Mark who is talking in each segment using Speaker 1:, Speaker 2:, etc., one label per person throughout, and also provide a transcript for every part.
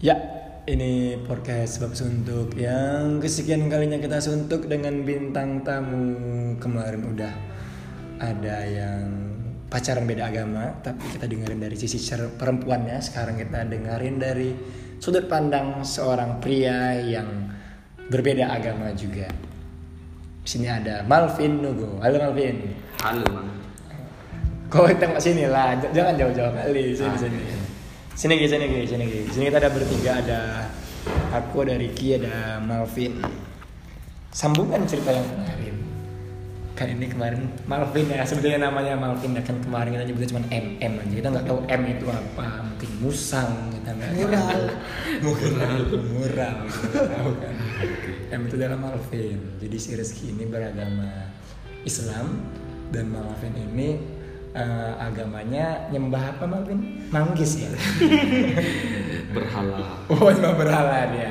Speaker 1: Ya, ini podcast Bab Suntuk yang kesekian kalinya kita suntuk dengan bintang tamu kemarin udah ada yang pacaran beda agama, tapi kita dengerin dari sisi cer- perempuannya. Sekarang kita dengerin dari sudut pandang seorang pria yang berbeda agama juga. Di sini ada Malvin Nugo. Halo Malvin.
Speaker 2: Halo, Mang.
Speaker 1: Kau tengok sini lah, j- jangan jauh-jauh kali sini sini. Sini Ki, sini Ki, sini Ki. Sini kita ada bertiga ada aku ada Ricky ada Malvin. Sambungan cerita yang kemarin. Kan ini kemarin Malvin ya sebetulnya namanya Malvin ya. kan kemarin kita nyebutnya cuma MM aja kita nggak tahu M itu apa mungkin musang kita nggak tahu.
Speaker 3: Mural.
Speaker 1: mural mural kita nggak tahu kan. M itu dalam Malvin jadi si Rizky ini beragama Islam dan Malvin ini eh, agamanya nyembah apa Malvin manggis ya
Speaker 2: Berhala.
Speaker 1: Oh, emang berhala dia.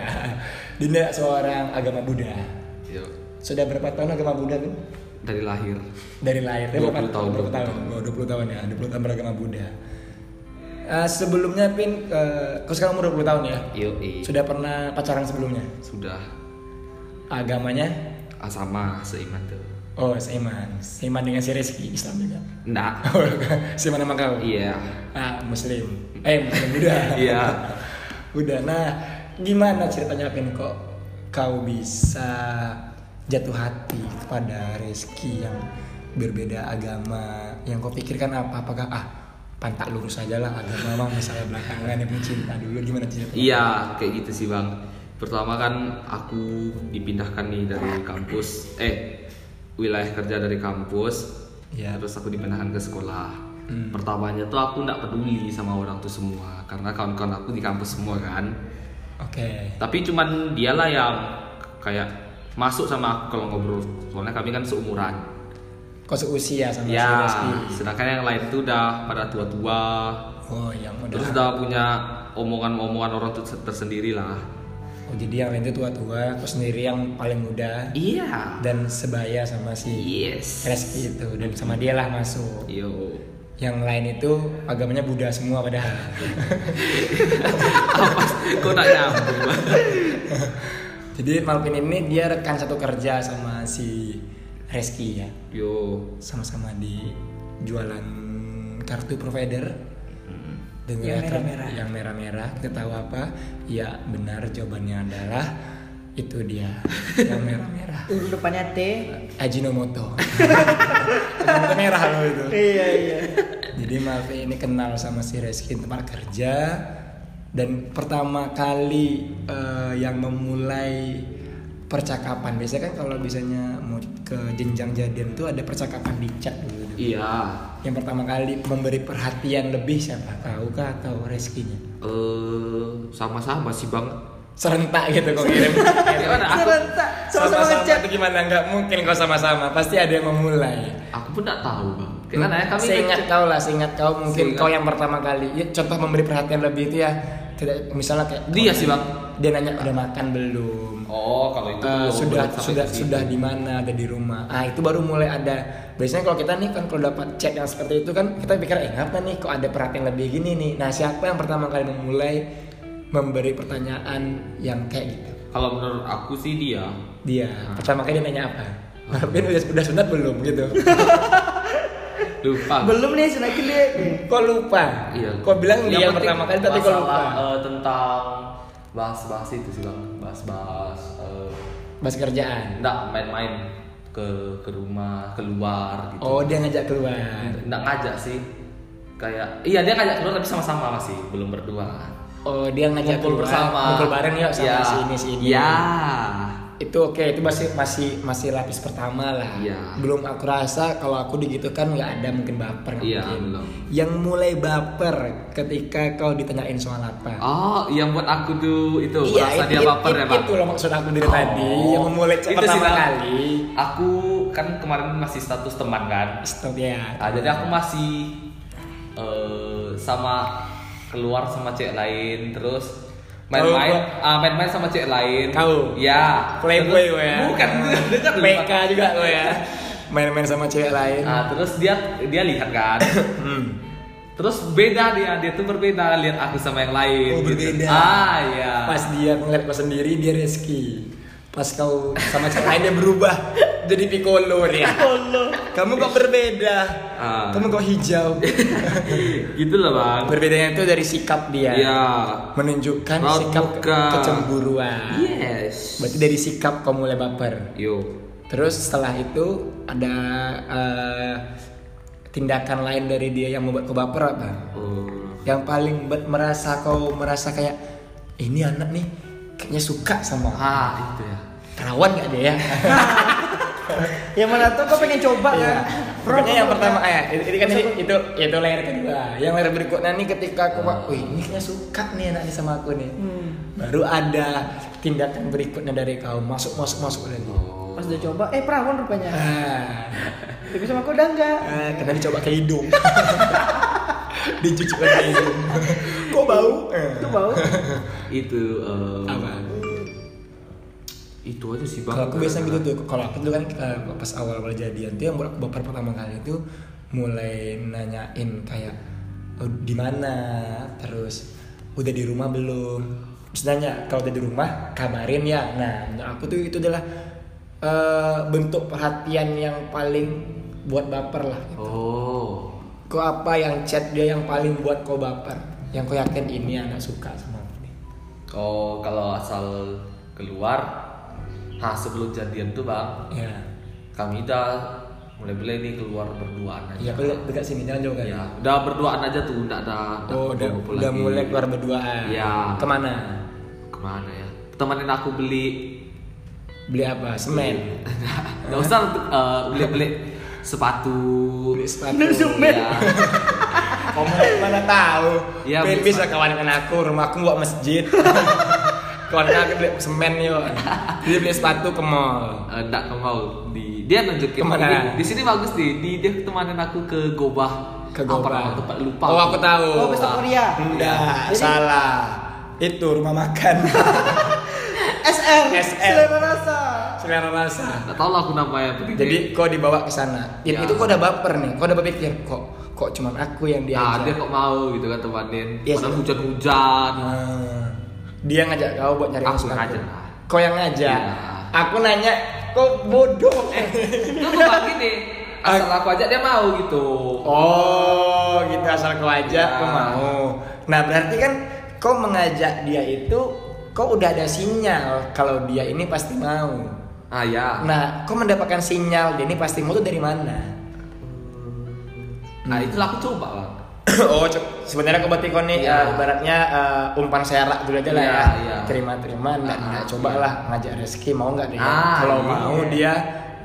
Speaker 1: Dinda seorang agama Buddha.
Speaker 2: Yo.
Speaker 1: Sudah berapa tahun agama Buddha, Bin?
Speaker 2: Dari lahir.
Speaker 1: Dari lahir, dia berapa
Speaker 2: 20 tahun,
Speaker 1: Berapa
Speaker 2: 20
Speaker 1: tahun? Oh, 20 tahun ya, 20 tahun beragama Buddha. Eh, sebelumnya, Pin, eh, kau sekarang umur 20 tahun ya?
Speaker 2: Yo,
Speaker 1: Sudah pernah pacaran sebelumnya?
Speaker 2: Sudah.
Speaker 1: Agamanya?
Speaker 2: Ah, sama seiman tuh.
Speaker 1: Oh, seiman. Seiman dengan si Rizky, Islam juga.
Speaker 2: Nggak.
Speaker 1: Oh, seiman sama kau?
Speaker 2: Iya.
Speaker 1: Ah, Muslim. Eh, Muslim Buddha.
Speaker 2: Iya.
Speaker 1: Udah, nah gimana ceritanya Pin kok kau bisa jatuh hati kepada Reski yang berbeda agama yang kau pikirkan apa apakah ah pantak lurus aja lah agama mah masalah belakangan yang cinta dulu gimana ceritanya
Speaker 2: Iya, kayak gitu sih, Bang. Pertama kan aku dipindahkan nih dari kampus. Eh, wilayah kerja dari kampus.
Speaker 1: Iya.
Speaker 2: Terus aku dipindahkan ke sekolah. Pertamanya tuh aku nggak peduli sama orang tuh semua karena kawan-kawan aku di kampus semua kan.
Speaker 1: oke
Speaker 2: tapi cuman dialah yang kayak masuk sama aku kalau ngobrol soalnya kami kan seumuran
Speaker 1: kau seusia sama si
Speaker 2: ya
Speaker 1: Reski
Speaker 2: sedangkan yang lain tuh udah pada tua-tua
Speaker 1: oh yang udah
Speaker 2: terus udah punya omongan-omongan orang tuh tersendiri lah
Speaker 1: oh jadi yang lain itu tua-tua kau sendiri yang paling muda
Speaker 2: iya
Speaker 1: dan sebaya sama si
Speaker 2: yes
Speaker 1: Reski itu gitu, dan sama dia lah masuk
Speaker 2: yo
Speaker 1: yang lain itu agamanya Buddha semua padahal
Speaker 2: apa sih? kok tak nyambung Bang?
Speaker 1: jadi Malvin ini dia rekan satu kerja sama si Reski ya
Speaker 2: yo
Speaker 1: sama-sama di jualan kartu provider dan
Speaker 3: Yang
Speaker 1: mereka-
Speaker 3: merah-merah.
Speaker 1: yang merah-merah kita tahu apa ya benar jawabannya adalah itu dia yang merah-merah
Speaker 3: Depannya T.
Speaker 1: Ajinomoto Ajinomoto merah loh itu
Speaker 3: Iya iya.
Speaker 1: Jadi Malvi ini kenal sama si Reski di tempat kerja dan pertama kali eh, yang memulai percakapan biasanya kan kalau biasanya mau ke jenjang jadian tuh ada percakapan di chat dulu. tuh.
Speaker 2: iya
Speaker 1: Yang pertama kali memberi perhatian lebih siapa tahu kah atau Reskinya?
Speaker 2: eh sama-sama sih bang
Speaker 1: Serentak gitu kok kirim.
Speaker 2: Gimana? Aku-
Speaker 3: Serentak sama-sama ngechat.
Speaker 1: tuh gimana? Nggak mungkin kok sama-sama. Pasti ada yang memulai.
Speaker 2: aku pun nggak tahu bang karena ya kami
Speaker 1: seingat kau lah, seingat kau mungkin
Speaker 2: Seingat-
Speaker 1: kau yang pertama kali. Ya, contoh memberi perhatian lebih itu ya, tidak misalnya kayak
Speaker 2: dia sih bang
Speaker 1: dia nanya udah makan belum,
Speaker 2: oh kalau itu
Speaker 1: Eh,
Speaker 2: belum
Speaker 1: sudah
Speaker 2: sampai
Speaker 1: sudah
Speaker 2: ke situ.
Speaker 1: sudah di mana, ada di rumah. Ah itu baru mulai ada. Biasanya kalau kita nih kan kalau dapat chat yang seperti itu kan kita pikir eh apa nih kok ada perhatian lebih gini nih. Nah siapa yang pertama kali memulai memberi pertanyaan yang kayak gitu?
Speaker 2: Kalau menurut aku sih dia
Speaker 1: Dia pertama kali dia nanya apa?
Speaker 2: Oh.
Speaker 1: Marvin udah, udah sunat belum gitu?
Speaker 2: lupa.
Speaker 3: Belum nih senakin dia.
Speaker 1: kok lupa?
Speaker 2: Iya.
Speaker 1: Kau bilang dia yang
Speaker 2: penting
Speaker 1: pertama kali tapi kau lupa.
Speaker 2: masalah, eh, tentang bahas-bahas itu sih bang, bahas-bahas eh,
Speaker 1: Bahas kerjaan.
Speaker 2: nggak main-main ke ke rumah keluar gitu.
Speaker 1: Oh, dia ngajak keluar.
Speaker 2: Nggak ngajak sih, kayak iya dia ngajak keluar tapi sama-sama masih belum berdua.
Speaker 1: Oh, dia ngajak keluar.
Speaker 2: Ngumpul bersama.
Speaker 1: Ngumpul bareng yuk sama
Speaker 2: Iya.
Speaker 1: si ini si ini.
Speaker 2: Iya.
Speaker 1: Itu oke, itu masih masih masih lapis pertama lah.
Speaker 2: Iya.
Speaker 1: Belum aku rasa kalau aku gitu kan nggak ada mungkin baper nggak
Speaker 2: Iya,
Speaker 1: mungkin.
Speaker 2: belum.
Speaker 1: Yang mulai baper ketika kau ditanyain soal apa.
Speaker 2: Oh, yang buat aku tuh itu rasa
Speaker 1: itu-
Speaker 2: dia
Speaker 1: itu-
Speaker 2: baper ya bang.
Speaker 1: Itu loh maksud aku dari
Speaker 2: Oh.
Speaker 1: tadi yang memulai
Speaker 2: Itu
Speaker 1: pertama
Speaker 2: sih, Bang.
Speaker 1: kali.
Speaker 2: Aku kan kemarin masih status teman kan.
Speaker 1: Stop ya.
Speaker 2: Ah, jadi aku masih eh, sama keluar sama cewek lain terus main-main ah, main-main sama cewek lain.
Speaker 1: Kau?
Speaker 2: Ya.
Speaker 1: Playboy lo
Speaker 2: Terus-
Speaker 1: ya.
Speaker 2: Bukan dekat lu,
Speaker 1: PK
Speaker 2: Bang.
Speaker 1: juga lo ya. Main-main sama cewek lain.
Speaker 2: Ah, terus dia dia lihat kan.
Speaker 1: Hmm.
Speaker 2: Terus beda dia, dia tuh berbeda lihat aku sama yang
Speaker 1: Oh,
Speaker 2: lain. gitu.
Speaker 1: berbeda.
Speaker 2: Ah iya.
Speaker 1: Pas dia ngeliat kau sendiri dia Reski. Pas kau sama cewek lain dia berubah jadi piccolo dia. Kamu kok berbeda.
Speaker 2: Ah.
Speaker 1: Kamu kok hijau.
Speaker 2: gitu loh bang.
Speaker 1: Berbedanya Ah, itu dari sikap dia. Oh,
Speaker 2: Iya.
Speaker 1: Menunjukkan
Speaker 2: Raut
Speaker 1: sikap ke-
Speaker 2: muka.
Speaker 1: kecemburuan.
Speaker 2: Yes.
Speaker 1: Berarti dari sikap kau mulai baper.
Speaker 2: Yo.
Speaker 1: Terus setelah itu ada eh, tindakan lain dari dia yang membuat kau baper apa?
Speaker 2: Oh.
Speaker 1: yang paling buat merasa kau merasa kayak "Eh, ini anak nih kayaknya suka sama
Speaker 2: Ah itu ya.
Speaker 1: perawan gak dia ya
Speaker 3: Yang mana tuh kau pengen coba
Speaker 1: Iya.
Speaker 3: kan? Bro,
Speaker 1: Pokoknya yang
Speaker 3: kau
Speaker 1: pertama ya ini, ini kan ini, itu itu layer kedua yang layer berikutnya nih ketika aku wah wih ini kayaknya suka nih anak ini sama aku nih baru ada tindakan berikutnya dari kau masuk masuk masuk lagi
Speaker 3: Pas udah coba, eh perawan rupanya.
Speaker 1: ah,
Speaker 3: Tapi sama kau udah enggak.
Speaker 1: ah, karena dicoba ke hidung dicuci ke hidung kok bau Eh.
Speaker 3: Itu bau.
Speaker 2: Itu. eh,
Speaker 1: apa
Speaker 2: Itu aja sih bang.
Speaker 1: Kalau aku biasanya gitu tuh, kalau aku dulu kan eh, pas awal-awal jadian tuh yang buat aku baper pertama kali itu mulai nanyain kayak "Oh, di mana, terus udah di rumah belum. Terus nanya kalau udah di rumah kabarin ya. Nah, menurut aku tuh itu adalah eh, bentuk perhatian yang paling buat baper lah.
Speaker 2: Oh.
Speaker 1: Kau apa yang chat dia yang paling buat kau baper? Yang kau yakin ini anak suka sama aku nih.
Speaker 2: Oh kalau asal keluar, nah sebelum jadian tuh bang,
Speaker 1: Ya,
Speaker 2: kami udah mulai-mulai nih keluar berduaan aja.
Speaker 1: ya kau lihat dekat sini jangan jauh kan?
Speaker 2: Ya, Iya, udah berduaan aja tuh, udah ada.
Speaker 1: Oh, udah, udah mulai keluar berduaan.
Speaker 2: Iya.
Speaker 1: Kemana?
Speaker 2: Kemana ya? Temenin aku beli.
Speaker 1: Beli apa? Semen.
Speaker 2: Gak usah eh, beli-beli sepatu.
Speaker 1: Beli sepatu. Iya.
Speaker 3: Beli semen.
Speaker 2: Ya.
Speaker 1: Kamu mana tahu?
Speaker 2: Iya,
Speaker 1: Ben
Speaker 2: beli
Speaker 1: bisa kawan dengan aku, rumahku buat masjid. kawan aku beli semen yuk. Dia beli sepatu ke mall.
Speaker 2: Eh, Nggak ke mau di dia nunjukin
Speaker 1: Kemana?
Speaker 2: Ini, di sini bagus nih di dia temanin aku ke Gobah
Speaker 1: Ke
Speaker 2: Apa nama
Speaker 1: Goba.
Speaker 2: tempat lupa Iya.
Speaker 1: Oh, aku tahu.
Speaker 3: Oh, pesta Korea.
Speaker 1: Enggak,
Speaker 3: Jadi-
Speaker 1: salah. Itu rumah makan.
Speaker 3: SM.
Speaker 1: SM.
Speaker 3: Selera rasa.
Speaker 1: Selera rasa.
Speaker 2: Nggak tahu lah aku ya, namanya penting
Speaker 1: Jadi kau dibawa ke sana.
Speaker 2: Ya.
Speaker 1: Itu kau udah baper nih. Kau udah berpikir kok kok cuman aku yang
Speaker 2: dia, ah,
Speaker 1: diajak.
Speaker 2: dia kok mau gitu kan temanin
Speaker 1: Iya
Speaker 2: padahal
Speaker 1: sih.
Speaker 2: hujan-hujan
Speaker 1: Ah, dia ngajak kau buat nyari
Speaker 2: Aku
Speaker 1: masalah.
Speaker 2: ngajak lah.
Speaker 1: Kau yang ngajak.
Speaker 2: Iya.
Speaker 1: Aku nanya, kok bodoh.
Speaker 2: itu tuh bang gini
Speaker 1: Eh.
Speaker 2: asal aku aja dia mau gitu
Speaker 1: oh, gitu asal kau ajak,
Speaker 2: Iya.
Speaker 1: kau mau. Nah, berarti kan kau mengajak dia itu kau udah ada sinyal kalau dia ini pasti mau.
Speaker 2: ah ya
Speaker 1: Nah, kau mendapatkan sinyal dia ini pasti mau tuh dari mana?
Speaker 2: nah itulah aku coba bang
Speaker 1: oh, co- sebenarnya kau berarti kau nih
Speaker 2: Iya.
Speaker 1: eh, ibaratnya eh, umpan serak dulu aja lah
Speaker 2: Iya,
Speaker 1: ya.
Speaker 2: iya.
Speaker 1: Terima-terima, enggak
Speaker 2: Ah,
Speaker 1: enggak
Speaker 2: iya.
Speaker 1: coba lah ngajak rezeki mau nggak dia?
Speaker 2: Ah,
Speaker 1: Kalau
Speaker 2: iya.
Speaker 1: mau dia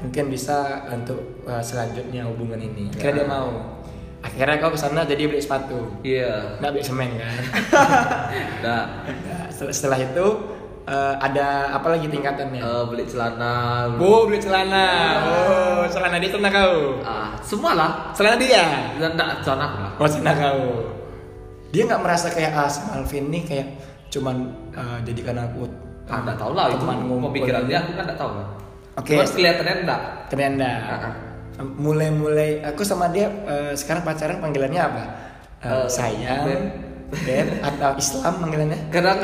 Speaker 1: mungkin bisa untuk eh, selanjutnya hubungan ini. Akhirnya dia mau. Akhirnya kau kesana jadi beli sepatu.
Speaker 2: iya
Speaker 1: Nggak beli semen kan?
Speaker 2: nah
Speaker 1: Nah, setelah, setelah itu eh, ada apa lagi tingkatannya?
Speaker 2: eh, beli celana
Speaker 1: Oh, beli celana. Oh, celana dia celana kau.
Speaker 2: ah semua lah
Speaker 1: Celana dia.
Speaker 2: dan enggak celana aku lah
Speaker 1: Maksudnya kau nah, dia nggak merasa kayak ah si Malvin nih kayak cuman eh, jadikan aku
Speaker 2: ah nggak tahu lah itu
Speaker 1: Teman ngumpul. ya.
Speaker 2: pemikirannya aku kan nggak tahu kan
Speaker 1: Oke.
Speaker 2: Cuman kelihatannya enggak
Speaker 1: ternyata
Speaker 2: Ah, ah.
Speaker 1: mulai-mulai aku sama dia eh, sekarang pacaran panggilannya apa Eh,
Speaker 2: Eh,
Speaker 1: sayang
Speaker 2: Beb.
Speaker 1: Beb atau Islam panggilannya
Speaker 2: kadang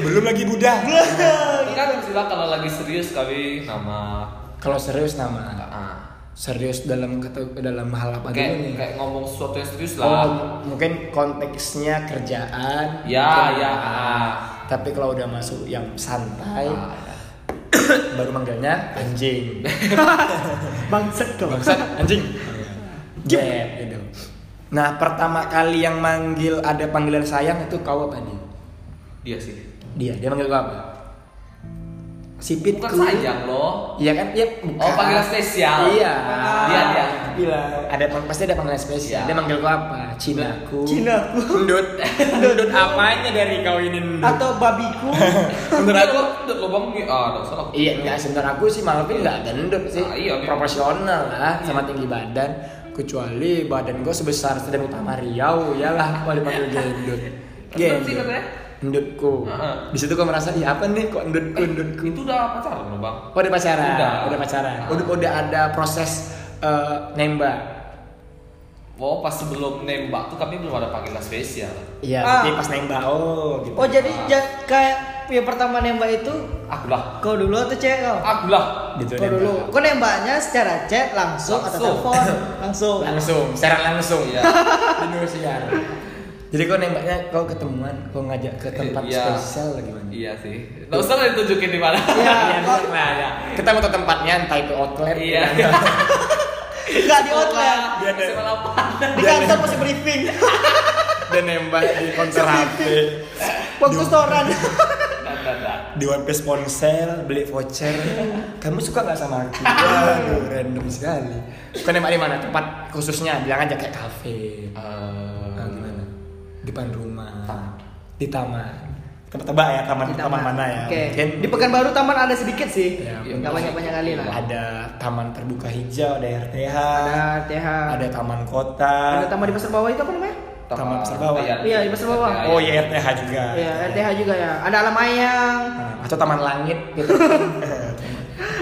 Speaker 1: belum lagi Buddha
Speaker 2: kan misalnya kalau lagi serius kami nama
Speaker 1: kalau serius nama
Speaker 2: ah,
Speaker 1: serius dalam kata dalam hal apa dulu
Speaker 2: kayak
Speaker 1: nih
Speaker 2: kayak ngomong sesuatu yang serius
Speaker 1: oh
Speaker 2: lah
Speaker 1: mungkin konteksnya kerjaan
Speaker 2: ya
Speaker 1: mungkin-
Speaker 2: ya ah.
Speaker 1: tapi kalau udah masuk yang santai
Speaker 2: Ah, ya.
Speaker 1: baru manggilnya anjing
Speaker 3: Bangset kau.
Speaker 1: bangsat anjing Jep, gitu. nah pertama kali yang manggil ada panggilan sayang itu kau apa nih
Speaker 2: dia sih
Speaker 1: dia dia manggil kau apa sipitku
Speaker 2: bukan sayang loh
Speaker 1: iya kan iya bukan.
Speaker 2: Oh, panggilan spesial.
Speaker 1: iya
Speaker 2: Dia, dia.
Speaker 1: Gila. ada pang- pasti ada panggilan spesial
Speaker 2: Iya.
Speaker 1: dia manggil kau apa cinaku
Speaker 3: Cinaku.
Speaker 1: ndut ndut apanya dari kau ini ndut
Speaker 3: Atau babiku.
Speaker 1: Menurut
Speaker 2: Iya,
Speaker 1: aku-
Speaker 2: lo- lo- lo bang ah nggak salah aku.
Speaker 1: Iya, enggak sebentar aku sih Malvin enggak gendut sih.
Speaker 2: Ah, iya, iya.
Speaker 1: Proporsional lah sama tinggi badan. Kecuali badan gue sebesar sedang utama Riau, iyalah kalau dipanggil gendut.
Speaker 2: Gendut sih katanya.
Speaker 1: Gendutku.
Speaker 2: Heeh.
Speaker 1: Di situ gue merasa, iya apa nih kok gendutku, gendutku.
Speaker 2: itu udah pacaran loh bang
Speaker 1: Oh, udah pacaran,
Speaker 2: Udah.
Speaker 1: udah pacaran.
Speaker 2: Ah.
Speaker 1: Udah, udah ada proses eh, nembak.
Speaker 2: Wow, pas sebelum nembak tuh kami belum ada panggilan spesial.
Speaker 1: Iya,
Speaker 3: Ah.
Speaker 1: berarti pas nembak. Oh, gitu.
Speaker 3: Oh jadi ja- kayak yang pertama nembak itu
Speaker 2: Aku lah,
Speaker 3: kau dulu atau cewek kau?
Speaker 2: aku lah.
Speaker 1: gitu
Speaker 2: Oh,
Speaker 3: Kau dulu.
Speaker 1: nembak.
Speaker 3: Kau nembaknya secara chat langsung, atau
Speaker 2: Langsung.
Speaker 3: telepon? langsung.
Speaker 1: Langsung, secara langsung. ya.
Speaker 2: Iya.
Speaker 1: Dulu siar. Jadi kau nembaknya kau ketemuan, kau ngajak ke tempat
Speaker 2: Iya.
Speaker 1: spesial gimana?
Speaker 2: Iya sih. Gak usah lah ditunjukin di mana.
Speaker 3: Iya.
Speaker 1: bener lah, ya. Kita mau ke tempatnya entah itu outlet.
Speaker 2: Iya.
Speaker 1: ya.
Speaker 3: Enggak di outlet.
Speaker 1: Dia ada-
Speaker 2: Masih malam.
Speaker 3: Di kantor masih briefing.
Speaker 1: Dan nembak di konser HP.
Speaker 3: Fokus restoran.
Speaker 2: Dan, dan, dan.
Speaker 1: Di One Piece ponsel, beli voucher. Kamu suka gak sama aku? Waduh, random sekali. Kau nembak di mana? Tempat khususnya, bilang aja kayak kafe. Ah, gimana? Depan rumah. Di taman. Tempat tebak ya, taman
Speaker 3: Di
Speaker 1: taman mana ya?
Speaker 3: Oke.
Speaker 1: Mungkin
Speaker 3: Di Pekanbaru taman ada sedikit sih.
Speaker 1: Ya,
Speaker 3: Enggak
Speaker 1: mungkin.
Speaker 3: banyak-banyak kali lah.
Speaker 1: Oh, ada taman terbuka hijau, ada RTH,
Speaker 3: Ada
Speaker 1: ada,
Speaker 3: TH.
Speaker 1: taman kota.
Speaker 3: Ada taman di pasar bawah itu apa namanya?
Speaker 1: Taman Pasar Bawah.
Speaker 3: Iya, di Pasar Bawah.
Speaker 2: Iya.
Speaker 1: oh iya RTH juga.
Speaker 3: Iya, RTH juga ya. Ada alam ayang.
Speaker 1: Ah, Atau taman langit gitu.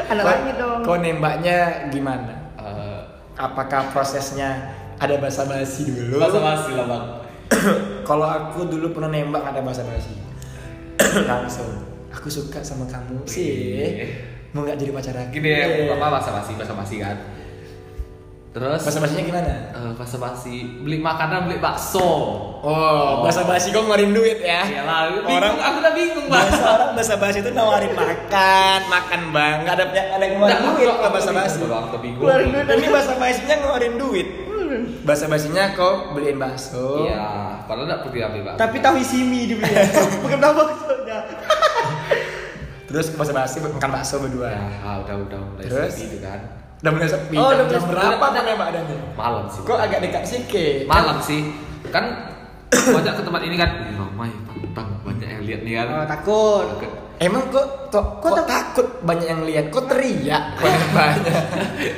Speaker 3: Ada
Speaker 1: Kau-
Speaker 3: lagi dong.
Speaker 1: Kau nembaknya gimana?
Speaker 2: Eh,
Speaker 1: Apakah prosesnya ada basa-basi dulu?
Speaker 2: Bahasa basi lah bang.
Speaker 1: Kalau aku dulu pernah nembak ada basa-basi. Langsung. Aku suka sama kamu sih.
Speaker 2: Wih.
Speaker 1: Mau nggak jadi pacar aku? Eh,
Speaker 2: Gini ya, apa bahasa basi, bahasa basi kan. Terus
Speaker 1: Basa-basinya gimana?
Speaker 2: eh, bahasa basi beli makanan beli bakso.
Speaker 1: Oh, basa-basi kok ngeluarin duit ya?
Speaker 2: Iyalah, bingung,
Speaker 1: Orang-
Speaker 2: aku udah bingung bang.
Speaker 1: Bahasa orang basa-basi itu nawarin makan, makan bang. Nggak ada nggak ada yang ngeluarin
Speaker 2: Nggak,
Speaker 1: duit
Speaker 2: aku-
Speaker 1: kalau
Speaker 2: aku
Speaker 1: basa-basi.
Speaker 2: bingung, Bang. Aku bingung.
Speaker 3: Keluarin duit. Hmm.
Speaker 1: Ini basa-basinya ngeluarin duit. Basa-basinya kau beliin bakso.
Speaker 2: Iya, padahal enggak pergi ambil bang.
Speaker 3: Tapi tahu isimi dibeli. Bukan tahu ya. maksudnya.
Speaker 1: Terus ke basa-basi makan bakso berdua.
Speaker 2: Ya, ah, udah udah mulai
Speaker 1: Terus?
Speaker 2: sepi itu kan.
Speaker 1: Udah mulai sepi.
Speaker 3: Oh, udah mulai
Speaker 1: Jam
Speaker 3: sepi.
Speaker 1: berapa tuh nembak adanya?
Speaker 2: Malam sih.
Speaker 1: Kok agak dekat sih
Speaker 2: Malam sih. Kan banyak ke tempat ini kan. Ih, Ramai, pantang, banyak yang lihat nih kan.
Speaker 3: Oh, takut.
Speaker 1: Emang kok kok, kok,
Speaker 3: Kok tak-
Speaker 1: takut banyak yang lihat? Kok teriak banyak banyak?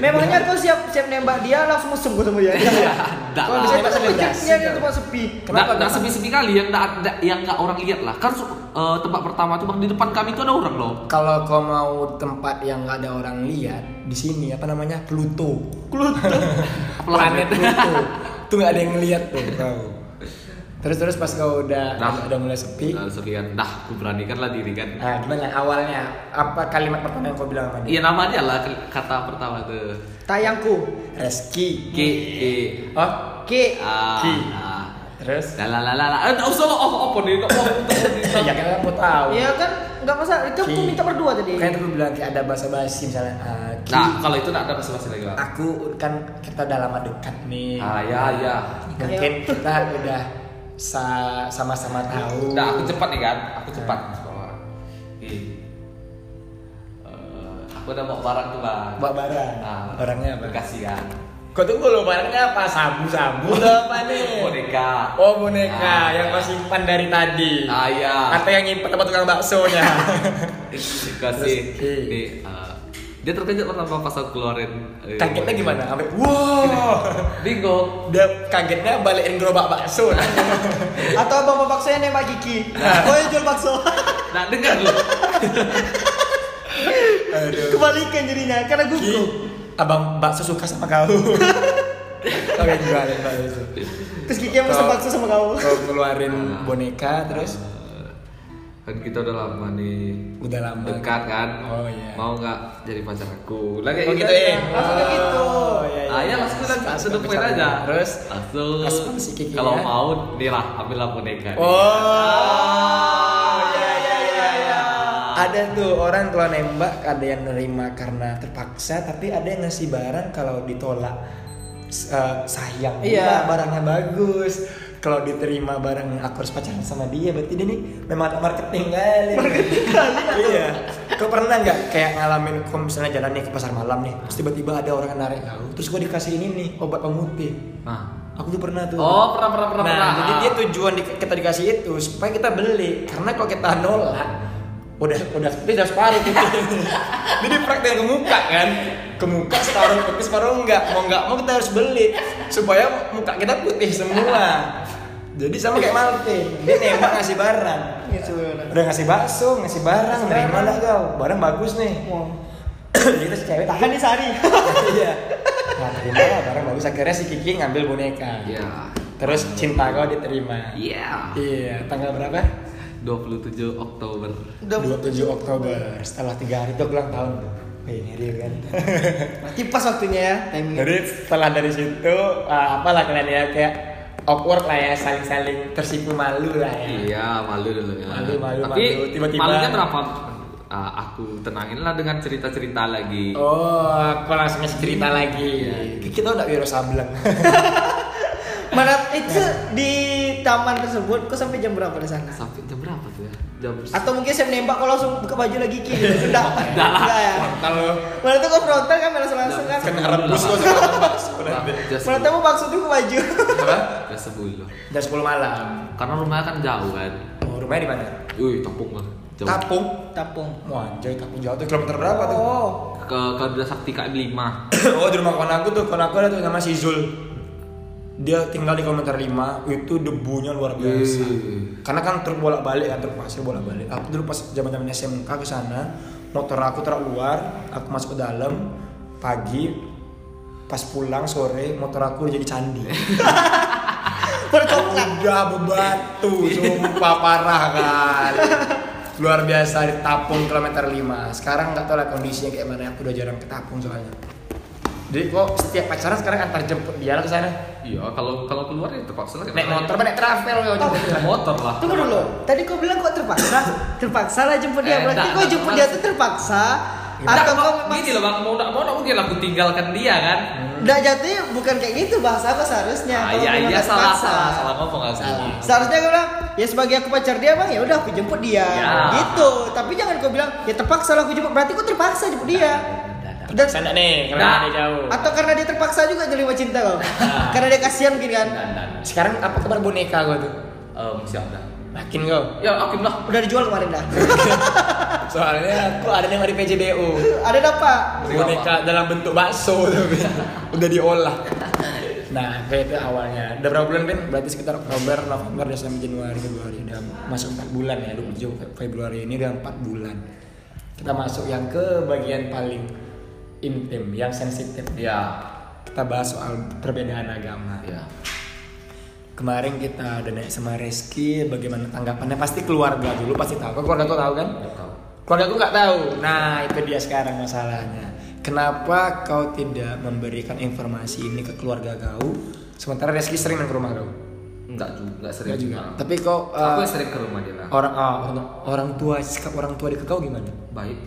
Speaker 3: Memangnya kau siap siap nembak dia langsung mesum kau sama dia. Iya.
Speaker 2: enggak
Speaker 3: Kalau
Speaker 2: lah.
Speaker 3: bisa tak
Speaker 1: Nembak
Speaker 3: sekejap
Speaker 1: bebas.
Speaker 3: dia di tempat sepi.
Speaker 2: Kenapa? Nggak sepi-sepi kali yang nggak ada yang nggak orang lihat lah. Kan su- eh, tempat pertama tuh bang di depan kami tuh ada orang loh.
Speaker 1: Kalau kau mau tempat yang nggak ada orang lihat di sini apa namanya Pluto? Pluto. Planet Pluto. Tuh nggak ada yang lihat tuh kau. Terus terus pas kau udah
Speaker 2: Nah.
Speaker 1: udah mulai sepi.
Speaker 2: Nah, sekian. Nah, aku beranikan lah diri kan.
Speaker 1: Nah, gimana awalnya? Apa kalimat pertama yang kau bilang sama dia?
Speaker 2: Iya namanya lah kata pertama tuh.
Speaker 3: Tayangku.
Speaker 1: Reski.
Speaker 2: K E
Speaker 1: Oh,
Speaker 3: Ki.
Speaker 2: A.
Speaker 1: Ki.
Speaker 2: A.
Speaker 1: terus?
Speaker 2: Ah, La la la la la. Eh, nggak usah lo off off nih. Nggak mau
Speaker 1: ya kan aku tahu.
Speaker 3: Iya kan enggak masalah. Itu aku
Speaker 1: Ki.
Speaker 3: minta berdua tadi.
Speaker 1: Kan aku bilang kayak ada bahasa basi misalnya. ah, Ki.
Speaker 2: Nah, kalau itu nggak ada basa-basi lagi lah.
Speaker 1: aku kan kita udah lama dekat nih
Speaker 2: Ah ya ya.
Speaker 1: mungkin kita udah sa- sama-sama tahu
Speaker 2: Nah, aku cepat nih kan. Aku cepat. Sekolah. Ki. Eh, Aku udah bawa barang tuh bang.
Speaker 1: bawa barang
Speaker 2: Nah,
Speaker 1: barangnya apa
Speaker 2: Bekasi kan.
Speaker 1: kau tunggu lo barangnya apa sabu sabu atau apa nih
Speaker 2: Boneka.
Speaker 1: oh boneka
Speaker 2: Ah.
Speaker 1: yang kau simpan dari tadi
Speaker 2: Ah ya.
Speaker 1: atau yang nyimpan tempat tukang baksonya
Speaker 2: Bekasi.
Speaker 1: Terus, Ki.
Speaker 2: Nih. eh, Dia terkejut pertama pas aku keluarin. eh,
Speaker 1: kagetnya
Speaker 2: boneka.
Speaker 1: gimana sampai wow
Speaker 2: Bingung.
Speaker 1: dia kagetnya balikin gerobak bakso nah.
Speaker 3: Atau abang bapak saya nembak Kiki. Oh, yang jual bakso.
Speaker 2: Nah, dengar lu.
Speaker 1: Aduh.
Speaker 3: Kebalikan jadinya karena
Speaker 1: Ki,
Speaker 3: gugup.
Speaker 1: abang bakso suka sama kau kau yang jualin bakso
Speaker 3: Terus Kiki yang pesen
Speaker 1: Kau-
Speaker 3: bakso sama kau.
Speaker 1: kau ngeluarin boneka terus
Speaker 2: kan kita udah lama nih
Speaker 1: udah lama
Speaker 2: dekat kan
Speaker 1: Oh, iya.
Speaker 2: mau nggak jadi pacar aku lagi
Speaker 1: Oh, gitu, eh.
Speaker 3: Langsung kayak
Speaker 2: ya?
Speaker 3: gitu.
Speaker 1: Oh, iya,
Speaker 2: ah ya langsung kita langsung depan aja
Speaker 1: terus
Speaker 2: langsung
Speaker 1: Langsung si Kiki
Speaker 2: kalau
Speaker 1: ya.
Speaker 2: mau nih kan? lah ambil lah boneka
Speaker 1: oh ya ya ya ya ada tuh orang kalau nembak ada yang nerima karena terpaksa tapi ada yang ngasih barang kalau ditolak s- eh, sayang
Speaker 3: Iya.
Speaker 1: Wah, barangnya bagus kalau diterima barang aku harus pacaran sama dia berarti dia nih memang ada marketing kali marketing kali iya kau pernah nggak kayak ngalamin kau misalnya jalan nih ke pasar malam nih terus tiba-tiba ada orang yang narik kau terus gua dikasih ini nih obat pemutih
Speaker 2: nah
Speaker 1: Aku tuh pernah tuh.
Speaker 2: Oh, pernah, pernah, pernah,
Speaker 1: Nah,
Speaker 2: pernah.
Speaker 1: jadi dia tujuan di- kita dikasih itu supaya kita beli. Karena kalau kita nolak, udah udah dia udah separuh gitu. jadi praktek ke muka kan. Ke muka separuh tapi separuh enggak. Mau enggak mau kita harus beli supaya muka kita putih semua. Jadi sama kayak Malvin, dia nembak ngasih barang.
Speaker 3: Gitu.
Speaker 1: Udah ngasih bakso, ngasih barang,
Speaker 3: Ngasih
Speaker 1: nerima
Speaker 3: barang.
Speaker 1: enggak kau? Barang bagus nih.
Speaker 3: Wow.
Speaker 1: jadi terus cewek
Speaker 3: Tahan nih sehari.
Speaker 1: iya nah, terima lah barang bagus akhirnya si Kiki ngambil boneka
Speaker 2: Iya.
Speaker 1: terus cinta kau diterima
Speaker 2: Iya.
Speaker 1: iya tanggal berapa
Speaker 2: 27 Oktober.
Speaker 1: 27 Oktober setelah tiga hari itu aku ulang tahun tuh Wih, ini real kan
Speaker 3: Berarti pas waktunya ya timingnya.
Speaker 1: jadi setelah dari situ ah, apalah kalian ya kayak awkward lah ya saling-saling tersipu malu lah ya
Speaker 2: Iya, malu dulu ya.
Speaker 1: Malu, malu,
Speaker 2: Tapi
Speaker 1: malu. Tiba-tiba-
Speaker 2: malunya berapa? Ah, aku tenangin lah dengan cerita-cerita lagi.
Speaker 1: Oh, aku langsung ngasih cerita lagi.
Speaker 2: Iya.
Speaker 1: Kita udah Wiro Sableng.
Speaker 3: Mana itu di taman tersebut kok sampai jam berapa di sana?
Speaker 2: Sampai jam berapa tuh ya? Jam
Speaker 3: Atau mungkin saya menembak kalau langsung buka baju lagi kiri. Sudah.
Speaker 2: Enggak lah.
Speaker 3: Enggak ya.
Speaker 1: Kalau
Speaker 3: Mana tuh kok frontal kan langsung langsung kan.
Speaker 1: kena rebus kok sekarang Mas. Udah
Speaker 2: Jam-
Speaker 1: deh.
Speaker 2: jam
Speaker 3: Mana tuh mau maksud tuh ke baju.
Speaker 1: Apa?
Speaker 2: Jam 10.
Speaker 1: Jam 10 malam.
Speaker 2: Karena rumahnya kan jauh kan.
Speaker 1: Oh, rumahnya di mana?
Speaker 2: Wih, tepung lah. Jauh.
Speaker 1: Tapung.
Speaker 3: Tapung.
Speaker 1: Wah, anjay, Tapung jauh tuh kilometer berapa tuh?
Speaker 3: Oh.
Speaker 2: Ke ke Duda Sakti KM 5.
Speaker 1: oh, di rumah kawan aku tuh, kawan aku ada tuh nama si Zul. Dia tinggal di kilometer 5, itu debunya luar biasa.
Speaker 2: Wih.
Speaker 1: Karena kan truk bolak-balik kan, truk pasir bolak-balik. Aku dulu pas zaman-zaman SMK ke sana, motor aku terluar, aku masuk ke dalam pagi, pas pulang sore motor aku jadi candi. Udah bebatu, sumpah parah kan. Luar biasa di Tapung kilometer 5. Sekarang nggak tahu lah kondisinya kayak mana. Aku udah jarang ke Tapung soalnya. Jadi kok setiap pacaran sekarang antar jemput dia lah ke sana.
Speaker 2: Iya, kalau kalau keluar ya terpaksa lah.
Speaker 1: Naik motor, apa naik travel ya jemput dia?
Speaker 2: Naik motor lah. Nah,
Speaker 3: Tunggu dulu. Tadi kau bilang kok terpaksa? terpaksa lah jemput
Speaker 2: Eh,
Speaker 3: dia. Berarti
Speaker 2: enggak,
Speaker 3: kau
Speaker 2: enggak
Speaker 3: jemput dia
Speaker 2: terpaksa.
Speaker 3: tuh terpaksa.
Speaker 2: Nggak,
Speaker 3: Atau kau
Speaker 2: Bang.
Speaker 3: memang
Speaker 2: gini loh bang, mau nggak mau nggak mungkin aku tinggalkan dia kan?
Speaker 3: Nah jatuhnya bukan kayak gitu bahasa apa seharusnya.
Speaker 2: Ah,
Speaker 3: Kalau
Speaker 2: iya
Speaker 3: memang
Speaker 2: iya
Speaker 3: nggak
Speaker 2: salah
Speaker 3: terpaksa.
Speaker 2: salah salah ngomong aku.
Speaker 1: Salah.
Speaker 3: Seharusnya gue bilang, ya sebagai aku pacar dia bang, ya udah aku jemput dia,
Speaker 2: Ya.
Speaker 3: gitu. Tapi jangan kau bilang, ya terpaksa lah aku jemput. Berarti kau terpaksa jemput dia. Dan
Speaker 1: Terpaksa nggak nih, karena
Speaker 2: Nggak.
Speaker 1: ada jauh.
Speaker 3: atau karena dia terpaksa juga terima cinta kau.
Speaker 2: Ah.
Speaker 3: karena dia kasihan mungkin kan.
Speaker 2: Dan dan.
Speaker 1: Sekarang apa kabar boneka gua tuh?
Speaker 2: Eh, masih ada.
Speaker 1: Makin kau.
Speaker 2: Ya oke lah.
Speaker 3: Udah dijual kemarin dah.
Speaker 1: Soalnya aku ada yang dari PJBU.
Speaker 3: Ada dapat.
Speaker 1: boneka dalam bentuk bakso tapi udah diolah nah kayak itu awalnya udah berapa bulan Ben? berarti sekitar Oktober, November, Desember, Januari, Februari udah masuk 4 bulan ya 27 Februari ini udah 4 bulan kita masuk yang ke bagian paling intim yang sensitif
Speaker 2: Ya.
Speaker 1: kita bahas soal perbedaan agama
Speaker 2: Ya.
Speaker 1: kemarin kita udah naik sama Reski bagaimana tanggapannya pasti keluarga dulu pasti tahu Kok keluarga tuh tahu kan
Speaker 2: Nggak tahu.
Speaker 1: Keluarga aku nggak tahu. Nah, itu dia sekarang masalahnya. Kenapa kau tidak memberikan informasi ini ke keluarga kau? Sementara Reski sering main ke rumah kau.
Speaker 2: Enggak juga, enggak sering
Speaker 1: Enggak juga.
Speaker 2: juga.
Speaker 1: Tapi kau eh,
Speaker 2: Aku yang sering ke rumah dia lah.
Speaker 1: orang ah, orang- orang tua sikap orang tua di ke kau gimana?
Speaker 2: Baik.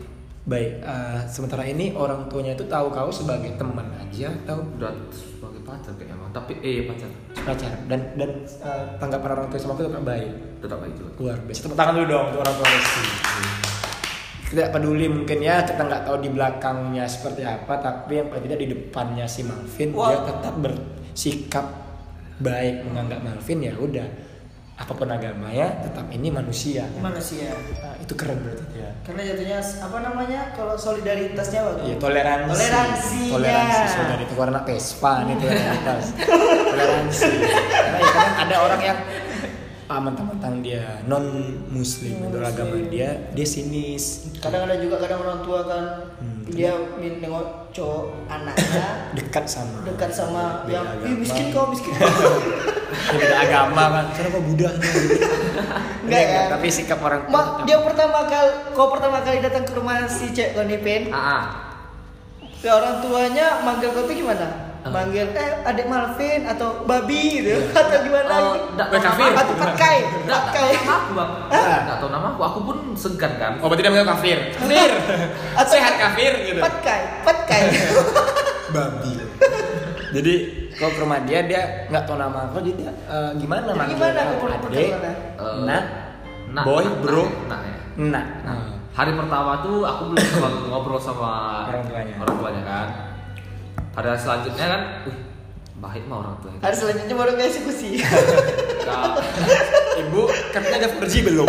Speaker 1: Baik. eh, sementara ini orang tuanya itu tahu kau sebagai teman aja atau
Speaker 2: Udah sebagai pacar kayaknya emang. Tapi eh pacar.
Speaker 1: pacar dan dan eh, tanggapan orang tua sama aku tetap baik.
Speaker 2: Tetap baik juga.
Speaker 1: luar biasa tepuk tangan dulu dong untuk orang tua Lesti tidak peduli mungkin ya kita nggak tahu di belakangnya seperti apa tapi yang paling tidak di depannya si Malvin dia
Speaker 3: Wah.
Speaker 1: tetap bersikap baik menganggap Malvin ya udah apapun agamanya tetap ini manusia
Speaker 3: Manusia.
Speaker 1: Nah, itu keren berarti ya
Speaker 3: ya? Karena jatuhnya apa namanya kalau solidaritasnya Bang?
Speaker 1: Iya toleransi.
Speaker 3: Toleransinya.
Speaker 1: Toleransi saudara itu warna Vespa nih toleransi. toleransi. Karena ya, kadang ada orang yang ah, mentang-mentang dia non muslim
Speaker 3: Non-muslim.
Speaker 1: beragama dia dia sinis
Speaker 3: Kadang ada juga kadang orang tua kan
Speaker 1: Hmm.
Speaker 3: dia min nengok cowok anaknya
Speaker 1: dekat sama
Speaker 3: dekat sama
Speaker 1: Beda
Speaker 3: yang
Speaker 1: agama.
Speaker 3: "Ih, miskin kau miskin
Speaker 1: Ya, beda agama kan karena kok Buddha
Speaker 3: Enggak,
Speaker 1: Iya,
Speaker 3: kan?
Speaker 1: tapi sikap orang tua
Speaker 3: Mak,
Speaker 1: tetap-
Speaker 3: dia pertama kali, kau pertama kali datang ke rumah si cek kau nih, Pen.
Speaker 2: Ah, ah.
Speaker 3: Ya, orang tuanya manggil kau tuh gimana?
Speaker 1: Ah.
Speaker 3: Manggil eh adik Malvin atau babi gitu atau gimana?
Speaker 2: Eh,
Speaker 3: gitu.
Speaker 2: enggak
Speaker 1: Weh, Iya. Oh, kafir.
Speaker 3: atau patkai,
Speaker 2: Enggak
Speaker 3: patkai.
Speaker 2: tahu nama aku, Bang.
Speaker 1: Hah?
Speaker 2: Enggak tahu nama aku. Aku pun segan kan.
Speaker 1: oh berarti dia menganggap kafir kafir
Speaker 3: Atau-
Speaker 1: sehat kafir gitu
Speaker 3: Patkai, patkai.
Speaker 1: babi jadi kalau ke rumah dia dia nggak tahu nama aku jadi dia, eh, gimana
Speaker 3: Jadi
Speaker 1: manggil
Speaker 3: gimana
Speaker 1: aku?
Speaker 3: aku perlu
Speaker 1: adik nah,
Speaker 3: perkenalan?
Speaker 2: Eh,
Speaker 1: nak
Speaker 2: nak,
Speaker 1: boy
Speaker 2: nak,
Speaker 1: bro
Speaker 2: nak, nak, ya.
Speaker 1: nak
Speaker 2: Nah,
Speaker 3: Hmm.
Speaker 2: hari pertama tuh aku belum terlalu ngobrol sama
Speaker 1: Orang tuanya.
Speaker 2: orang tuanya kan. Hari selanjutnya kan, uh, baik mah orang tuanya.
Speaker 3: Hari selanjutnya baru ke eksekusi.
Speaker 2: Nah,
Speaker 1: ibu katanya ada 4G belum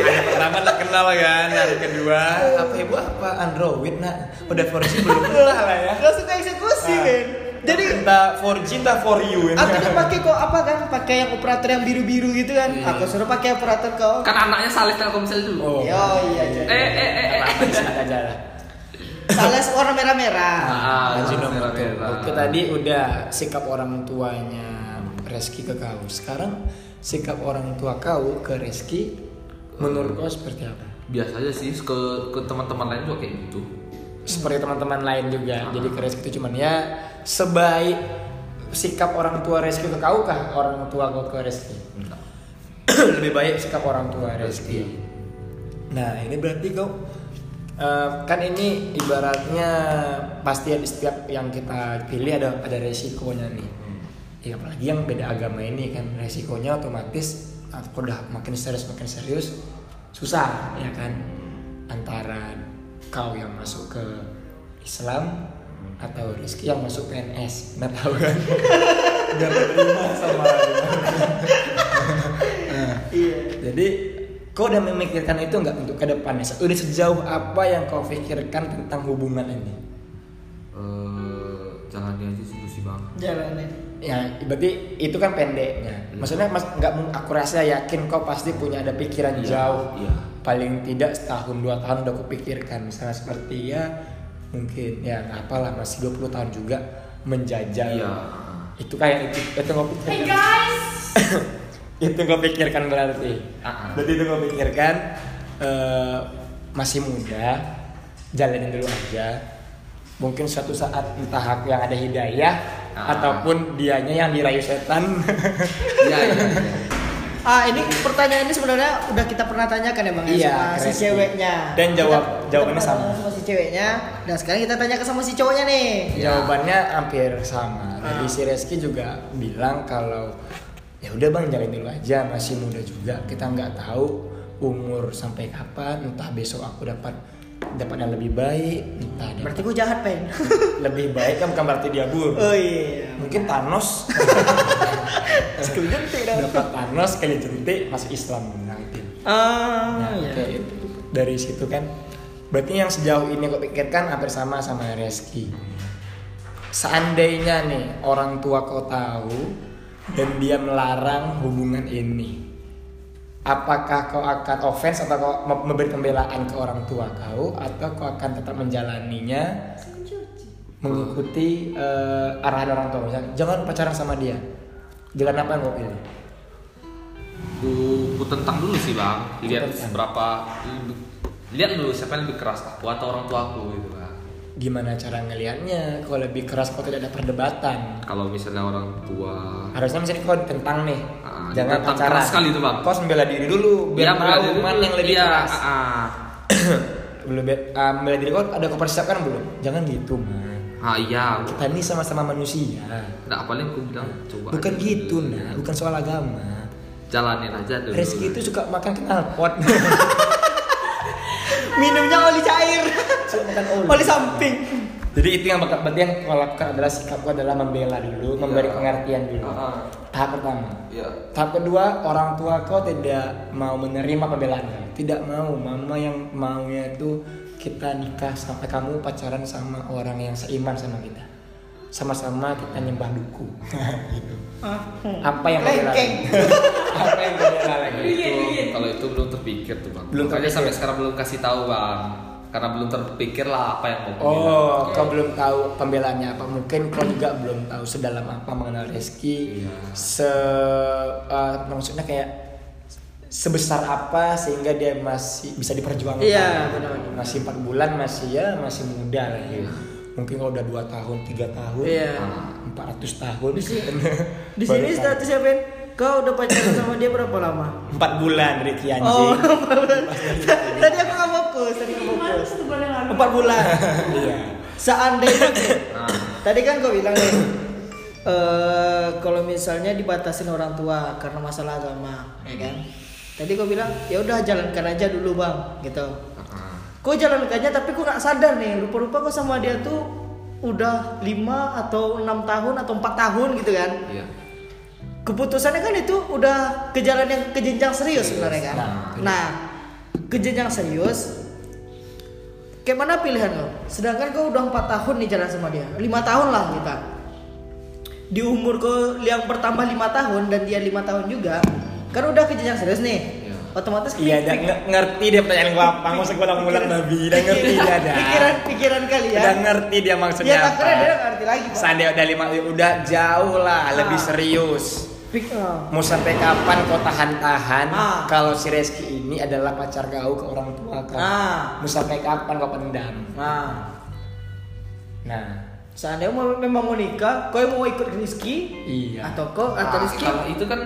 Speaker 1: Hari pertama tak kenal kan, hari kedua apa ibu apa Android nak udah 4G belum lah ya.
Speaker 3: Langsung ke eksekusi,
Speaker 1: Nah,
Speaker 3: Ben. Jadi
Speaker 1: cinta for cinta for you
Speaker 3: aku kan pakai kok apa kan pakai yang operator yang biru-biru gitu kan.
Speaker 1: Iya.
Speaker 3: Aku suruh pakai operator kau.
Speaker 2: Kan anaknya salih Telkomsel dulu.
Speaker 4: Oh.
Speaker 3: Yo iya iya.
Speaker 2: Eh eh eh. eh.
Speaker 1: aja lah.
Speaker 3: Salah warna merah-merah.
Speaker 2: Ah, kan?
Speaker 1: Ajinomoto.
Speaker 2: merah-merah.
Speaker 1: Oke tadi udah sikap orang tuanya Reski ke kau. Sekarang sikap orang tua kau ke Reski menurut kau seperti apa?
Speaker 2: Biasa aja sih ke ke teman-teman lain juga kayak gitu.
Speaker 1: Seperti teman-teman lain juga. Jadi ke Reski itu cuman ya sebaik sikap orang tua Reski ke kau kah orang tua kau ke Reski? Lebih baik sikap orang tua Reski. Nah ini berarti kau eh, kan ini ibaratnya pasti ada setiap yang kita pilih ada ada resikonya nih. Ya, apalagi yang beda agama ini kan resikonya otomatis aku udah makin serius makin serius susah ya kan antara kau yang masuk ke Islam atau Rizky yang masuk PNS nggak tahu kan
Speaker 4: Biar diterima sama
Speaker 3: Iya.
Speaker 1: Jadi kau udah memikirkan itu nggak untuk ke depannya? Udah sejauh apa yang kau pikirkan tentang hubungan ini?
Speaker 2: Eh, jangan dia aja sih sih bang.
Speaker 3: Jalannya.
Speaker 1: Ya, berarti itu kan
Speaker 2: Iya.
Speaker 1: pendeknya. Maksudnya mas nggak mung- aku rasa yakin kau pasti punya ada pikiran
Speaker 2: Iya,
Speaker 1: jauh.
Speaker 2: iya.
Speaker 1: Paling tidak setahun dua tahun udah kupikirkan. Misalnya seperti ya mungkin ya nggak apalah masih 20 tahun juga menjajal.
Speaker 2: Iya.
Speaker 1: Itu kayak itu itu kau
Speaker 5: Hey
Speaker 1: pikirkan.
Speaker 5: guys!
Speaker 1: itu kau pikirkan berarti.
Speaker 2: Ah, ah.
Speaker 1: Berarti itu gue pikirkan eh, masih muda, jalanin dulu aja. Mungkin suatu saat entah aku yang ada hidayah
Speaker 2: Ah.
Speaker 1: ataupun dianya yang dirayu setan.
Speaker 2: Iya iya. iya.
Speaker 3: Ah ini pertanyaan ini sebenarnya udah kita pernah tanyakan ya bang ya,
Speaker 1: Iya,
Speaker 3: sama si
Speaker 1: Resti.
Speaker 3: ceweknya.
Speaker 1: Dan jawab-
Speaker 3: Kita- kita
Speaker 1: jawabannya
Speaker 3: pernah
Speaker 1: sama.
Speaker 3: tanya Sama si ceweknya. Dan sekarang kita tanya ke sama si cowoknya nih.
Speaker 2: Iya.
Speaker 1: Jawabannya hampir sama. Dari
Speaker 3: Ah.
Speaker 1: si Reski juga bilang kalau ya udah bang jalanin dulu aja masih muda juga kita nggak tahu umur sampai kapan entah besok aku dapat dapat yang lebih baik entah dapat
Speaker 3: Berarti gue jahat pen.
Speaker 1: lebih baik kan bukan berarti dia buruk
Speaker 3: oh iya.
Speaker 1: mungkin Thanos
Speaker 3: Sekali jentik dah.
Speaker 1: dapat Thanos kali jentik masuk Islam nanti.
Speaker 3: Ah
Speaker 1: Nah,
Speaker 3: iya.
Speaker 1: kayak itu. dari situ kan. Berarti yang sejauh ini kau pikirkan hampir sama sama Reski. Seandainya nih orang tua kau tahu dan dia melarang hubungan ini, apakah kau akan offense atau kau me- memberi pembelaan ke orang tua kau atau kau akan tetap menjalaninya mengikuti eh, arahan orang tua Misalnya, jangan pacaran sama dia jalan apa yang kau pilih
Speaker 2: Ku, ku tentang dulu sih bang. Lihat
Speaker 1: Tentang.
Speaker 2: berapa. Lihat dulu siapa yang lebih keras aku atau orang tua aku gitu bang.
Speaker 1: gimana cara ngelihatnya kalau lebih keras kau tidak ada perdebatan
Speaker 2: Kalau misalnya orang tua
Speaker 1: harusnya misalnya kau tentang nih
Speaker 2: Ah,
Speaker 1: jangan
Speaker 2: ditentang
Speaker 1: pacaran
Speaker 2: keras sekali tuh, Bang.
Speaker 1: kau harus membela diri dulu biar
Speaker 2: Iya,
Speaker 1: tahu
Speaker 2: berada-
Speaker 1: mana yang lebih
Speaker 2: iya,
Speaker 1: keras
Speaker 2: ah, ah.
Speaker 1: belum be- ah, membela diri kau ada kau persiapkan belum jangan gitu man
Speaker 2: Ah, iya.
Speaker 1: kita ini sama-sama manusia
Speaker 2: Nah, paling aku bilang coba.
Speaker 1: bukan
Speaker 2: aja
Speaker 1: gitu
Speaker 2: dulu.
Speaker 1: nah bukan soal agama
Speaker 2: Jalanin aja dulu. Iya.
Speaker 1: Reski itu suka makan knalpot
Speaker 3: Minumnya oli cair.
Speaker 1: Suka makan
Speaker 3: oli samping.
Speaker 1: Jadi itu yang bakal berarti yang kau lakukan adalah sikapku adalah membela dulu, memberi pengertian dulu.
Speaker 2: Iya. Ah.
Speaker 1: Tahap pertama.
Speaker 2: Iya.
Speaker 1: Tahap kedua, orang tua kau tidak mau menerima pembelaan kamu. Tidak mau, mama yang maunya itu kita nikah sampai kamu pacaran sama orang yang seiman sama kita. Sama-sama kita nyembah duku. Gitu. Apa yang kau bela?
Speaker 3: Lengkeng.
Speaker 1: Apa yang kau bela lagi?
Speaker 2: Itu, kalau itu belum terpikir tuh bang.
Speaker 1: Belum
Speaker 2: Makanya
Speaker 1: terpikir.
Speaker 2: sampai sekarang belum kasih tahu bang. Karena belum terpikir lah apa yang mau aku bilang.
Speaker 1: Oh, kau belum tahu pembelanya apa? Mungkin kau juga belum tahu sedalam apa mengenal Reski.
Speaker 2: Iya.
Speaker 1: Se eh, maksudnya kayak sebesar apa sehingga dia masih bisa diperjuangkan.
Speaker 3: Iya, benar-benar.
Speaker 1: Masih 4 bulan masih ya masih muda lah ya.
Speaker 2: Iya.
Speaker 1: Mungkin kalau udah 2 tahun, 3 tahun,
Speaker 3: Iya.
Speaker 1: 400 tahun.
Speaker 3: Di sini statusnya pen. Kau udah pacaran sama dia berapa lama?
Speaker 1: 4 bulan Ricky
Speaker 3: Oh,
Speaker 1: anjing.
Speaker 3: tadi aku nggak fokus, tadi nggak
Speaker 5: Gimana
Speaker 3: fokus.
Speaker 5: tuh boleh lalu?
Speaker 3: Empat bulan.
Speaker 1: Iya.
Speaker 3: Seandainya Ken,
Speaker 2: Nah.
Speaker 3: tadi kan kau bilang nih, eh, kalau misalnya dibatasin orang tua karena masalah agama, ya kan? Tadi kau bilang ya udah jalankan aja dulu bang, gitu.
Speaker 2: Ah, ah.
Speaker 3: Kau jalankannya tapi kau nggak sadar nih, rupa-rupa kau sama dia tuh udah 5 atau enam tahun atau empat tahun gitu kan?
Speaker 2: Iya.
Speaker 3: keputusannya kan itu udah ke jalan yang ke jenjang serius sebenarnya kan.
Speaker 1: Nah,
Speaker 3: Nah, ke jenjang serius kayak mana pilihan lo? Sedangkan kau udah empat tahun nih jalan sama dia, lima tahun lah kita. di umur ke yang bertambah lima tahun dan dia lima tahun juga kan udah ke jenjang serius nih
Speaker 2: Iya.
Speaker 3: otomatis kan
Speaker 6: Iya, dah nge- ngerti dia pertanyaan gua apa. Mau sekolah ngulang babi, udah ngerti dia dah.
Speaker 3: pikiran pikiran kalian
Speaker 6: Udah ngerti dia
Speaker 3: ya
Speaker 6: maksudnya apa.
Speaker 3: akhirnya dia nggak ngerti lagi Pak.
Speaker 6: Seandainya udah lima, udah jauh lah, lebih
Speaker 3: Ah.
Speaker 6: serius.
Speaker 3: Pik- oh.
Speaker 1: Mau sampai kapan kau tahan-tahan
Speaker 3: Ah.
Speaker 1: kalau si Reski ini adalah pacar gaul ke orang tua kau?
Speaker 3: Ah.
Speaker 1: Mau sampai kapan kau pendam?
Speaker 3: nah
Speaker 1: Nah,
Speaker 3: seandainya mau, memang mau nikah kau yang mau ikut Rizky
Speaker 1: iya.
Speaker 3: atau kau atau
Speaker 2: Nah,
Speaker 3: Rizky
Speaker 2: kalau itu kan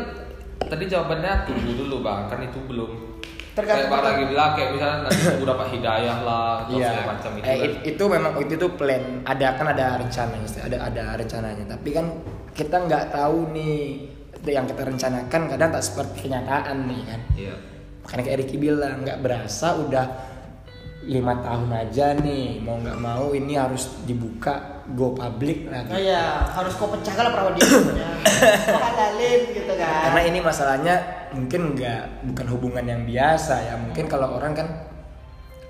Speaker 2: tadi jawabannya tunggu dulu bang, kan itu belum.
Speaker 3: Tergantung-
Speaker 2: Kayak bang lagi bilang kayak misalnya nanti tunggu dapat hidayah lah atau
Speaker 1: Iya.
Speaker 2: segala macam itu.
Speaker 1: Eh,
Speaker 2: kan.
Speaker 1: it- itu memang itu tuh plan. Ada kan ada rencananya, Ustaz. ada ada rencananya. Tapi kan kita nggak tahu nih yang kita rencanakan kadang tak seperti kenyataan nih kan.
Speaker 2: Iya.
Speaker 1: Makanya kayak Ricky bilang nggak berasa udah lima tahun aja nih mau nggak mau ini harus dibuka go public
Speaker 3: Nah,
Speaker 1: lagi.
Speaker 3: ya harus kau pecahkan lah perawan dia Kau halalin gitu kan
Speaker 1: Karena ini masalahnya mungkin nggak bukan hubungan yang biasa ya. Mungkin kalau orang kan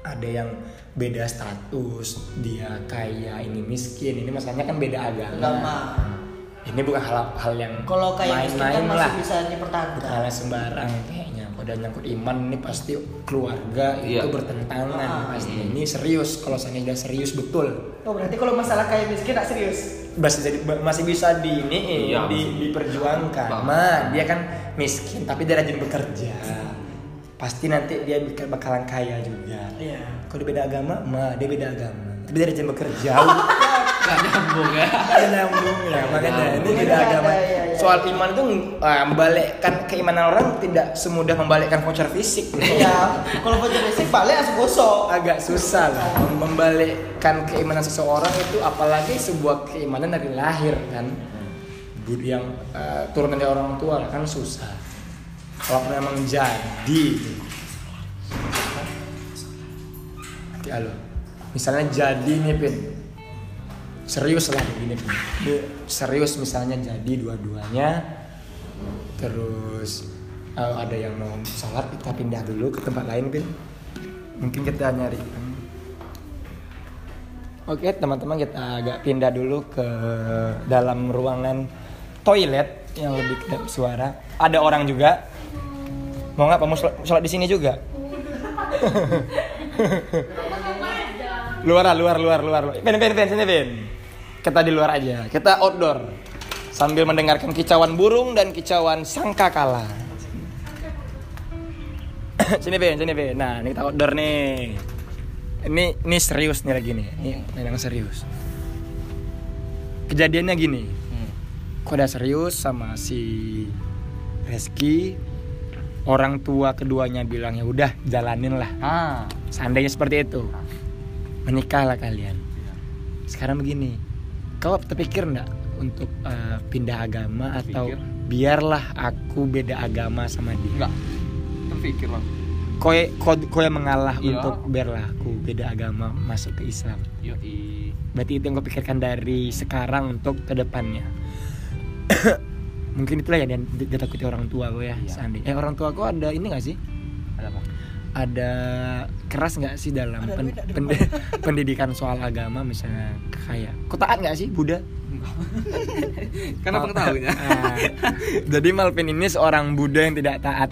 Speaker 1: ada yang beda status dia kaya ini miskin ini masalahnya kan beda agama.
Speaker 3: Agama.
Speaker 1: Ini bukan hal hal yang
Speaker 3: kalau kayak miskin kan
Speaker 1: main-main
Speaker 3: masih
Speaker 1: lah.
Speaker 3: bisa
Speaker 1: Bukan
Speaker 3: dipertahankan
Speaker 1: hal yang sembarang kayaknya. Kalau udah nyangkut iman ini pasti keluarga
Speaker 2: Iya.
Speaker 1: itu bertentangan
Speaker 3: Ah.
Speaker 1: pasti. Ini serius kalau seandainya udah serius betul.
Speaker 3: oh berarti kalau masalah kayak miskin tak serius
Speaker 1: Masih jadi masih bisa di ini
Speaker 2: Iya,
Speaker 1: di,
Speaker 2: masih.
Speaker 1: diperjuangkan.
Speaker 2: Bang.
Speaker 1: Ma, dia kan miskin tapi dia rajin bekerja. Pasti nanti dia bak- bakalan kaya juga.
Speaker 3: Iya.
Speaker 1: Kalau dia beda agama, ma dia beda agama. Tapi dia rajin bekerja.
Speaker 2: Nggak nyambung ya.
Speaker 1: Ada nyambung
Speaker 2: Iya,
Speaker 1: ya makanya ini
Speaker 3: Makanya
Speaker 1: beda
Speaker 3: ada,
Speaker 1: agama.
Speaker 3: iya, iya.
Speaker 1: Soal iman tuh eh, membalikkan keimanan orang tidak semudah membalikkan voucher fisik.
Speaker 3: Iya, kalau voucher listrik balik langsung gosok.
Speaker 1: agak susah lah Mem- membalikkan keimanan seseorang itu apalagi sebuah keimanan dari lahir kan Bud- yang eh, turun dari orang tua lah, kan susah kalau memang jadi nanti halo Ya misalnya jadi nih pin serius lah kayak gini Pin. Dia serius misalnya jadi dua-duanya terus eh, ada yang mau sholat kita pindah dulu ke tempat lain pin mungkin kita nyari hmm. oke teman-teman kita agak pindah dulu ke dalam ruangan toilet yang lebih kedap suara ada orang juga mau nggak mau sholat, sholat di sini juga luar lah, luar luar luar ben ben ben sini ben kita di luar aja kita outdoor sambil mendengarkan kicauan burung dan kicauan sangkakala sini ben sini ben nah ini kita outdoor nih ini ini serius nih lagi nih ini memang serius kejadiannya gini
Speaker 2: Hmm.
Speaker 1: kok udah serius sama si Reski orang tua keduanya bilang ya udah jalanin lah
Speaker 2: Ah.
Speaker 1: seandainya seperti itu menikahlah kalian sekarang begini kau terpikir nggak untuk eh, pindah agama atau
Speaker 2: Terpikir.
Speaker 1: biarlah aku beda agama sama dia
Speaker 2: Enggak. Terpikir bang.
Speaker 1: kowe kau, kau yang mengalah
Speaker 2: Iya.
Speaker 1: untuk biarlah aku beda agama masuk ke Islam
Speaker 2: Yo i.
Speaker 1: berarti itu yang kau pikirkan dari sekarang untuk kedepannya mungkin itulah yang dia- ditakuti orang tua gue ya
Speaker 2: Iya.
Speaker 1: seandainya eh orang tua kau ada ini nggak sih
Speaker 2: Ada bang.
Speaker 1: ada keras nggak sih dalam
Speaker 3: Ada
Speaker 1: pen-
Speaker 3: duit, ada
Speaker 1: pen- pendidikan soal agama misalnya kayak kau taat nggak sih Buddha?
Speaker 2: Karena bang tahu ya.
Speaker 1: Ah, jadi Malvin ini seorang Buddha yang tidak taat.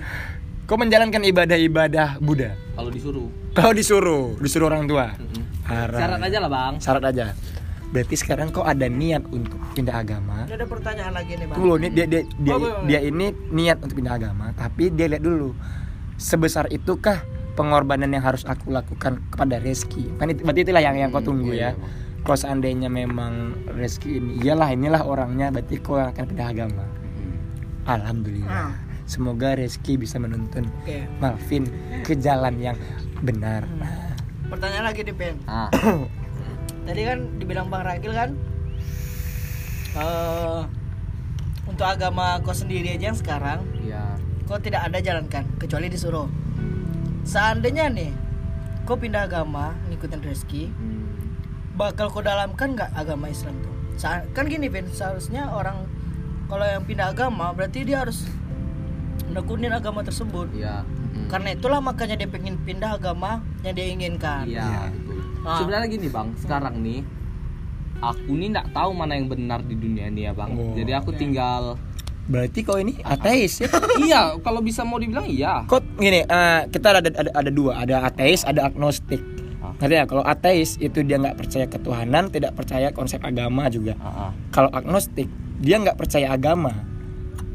Speaker 1: kau menjalankan ibadah-ibadah Buddha.
Speaker 2: Kalau disuruh.
Speaker 1: Kau disuruh, disuruh orang tua.
Speaker 2: Mm-mm.
Speaker 1: Haram.
Speaker 2: Syarat aja lah bang.
Speaker 1: Syarat aja. Berarti sekarang kau ada niat untuk pindah agama.
Speaker 3: Ini ada pertanyaan lagi nih, Bang.
Speaker 1: Tunggu dulu, ini dia dia dia,
Speaker 3: Oh, boleh,
Speaker 1: dia ini niat untuk pindah agama, tapi dia lihat dulu sebesar itukah pengorbanan yang harus aku lakukan kepada Reski. Kan itu, berarti itulah yang yang kau
Speaker 2: Hmm,
Speaker 1: tunggu
Speaker 2: iya,
Speaker 1: ya. Kalau seandainya memang Reski ini, iyalah inilah orangnya, berarti kau akan pindah agama.
Speaker 2: Hmm.
Speaker 1: Alhamdulillah.
Speaker 3: Ah.
Speaker 1: Semoga Reski bisa menuntun
Speaker 3: Oke.
Speaker 1: Malvin ke jalan yang benar. Nah,
Speaker 3: Pertanyaan lagi nih, Ben.
Speaker 2: Ah.
Speaker 3: Tadi kan dibilang Bang Ragil kan eh untuk agama kau sendiri aja yang sekarang
Speaker 2: Iya.
Speaker 3: kau tidak ada jalankan kecuali disuruh. Seandainya nih kau pindah agama ngikutin rezeki,
Speaker 2: Hmm.
Speaker 3: bakal kau dalamkan nggak agama Islam tuh? Sa- kan gini Ben, seharusnya orang kalau yang pindah agama berarti dia harus menekunin agama tersebut.
Speaker 2: Iya.
Speaker 3: Karena itulah makanya dia pengen pindah agama yang dia inginkan.
Speaker 2: Iya. betul.
Speaker 3: Ah.
Speaker 2: Sebenarnya gini bang, sekarang nih aku nih nggak tahu mana yang benar di dunia ini ya bang
Speaker 1: Oh.
Speaker 2: jadi aku tinggal
Speaker 1: Berarti kau ini ateis ya?
Speaker 2: iya kalau bisa mau dibilang iya
Speaker 1: Kok gini, eh, kita ada, ada ada dua, ada ateis, ada agnostik.
Speaker 2: Ah.
Speaker 1: Ngerti ya? Kalau ateis itu dia nggak percaya ketuhanan, tidak percaya konsep agama juga.
Speaker 2: Ah, ah.
Speaker 1: Kalau agnostik dia nggak percaya agama,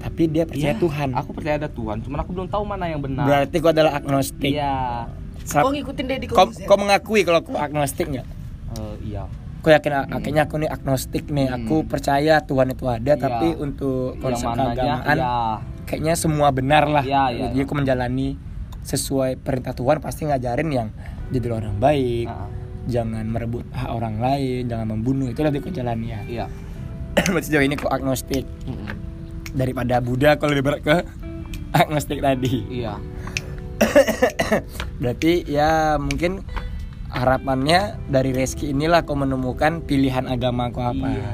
Speaker 1: tapi dia percaya
Speaker 2: Iya,
Speaker 1: Tuhan.
Speaker 2: aku percaya ada Tuhan cuman aku belum tahu mana yang benar
Speaker 1: Berarti kau adalah agnostik.
Speaker 2: iya
Speaker 1: Sa-
Speaker 3: Kau ngikutin Deddy
Speaker 1: kau,
Speaker 3: Corbuzier?
Speaker 1: kau mengakui kalau aku agnostik nggak?
Speaker 2: Eh, iya
Speaker 1: Kau yakin a- akhirnya aku nih agnostik nih, aku percaya Tuhan itu ada,
Speaker 2: Hmm. Iya.
Speaker 1: tapi untuk
Speaker 2: yang
Speaker 1: konsep
Speaker 2: mananya,
Speaker 1: keagamaan
Speaker 2: iya
Speaker 1: kayaknya semua benar lah.
Speaker 2: Iya, iya,
Speaker 1: Jadi aku menjalani sesuai perintah Tuhan pasti ngajarin yang jadi orang baik,
Speaker 2: Ah.
Speaker 1: jangan merebut hak orang lain, jangan membunuh itu lebih ke jalannya. ya.
Speaker 2: iya
Speaker 1: Berarti sejauh ini aku agnostik
Speaker 2: Mm-mm.
Speaker 1: daripada Buddha kalau lebih berat ke agnostik tadi.
Speaker 2: iya
Speaker 1: Berarti ya mungkin harapannya dari Reski inilah kau menemukan pilihan agama kau apa.
Speaker 2: iya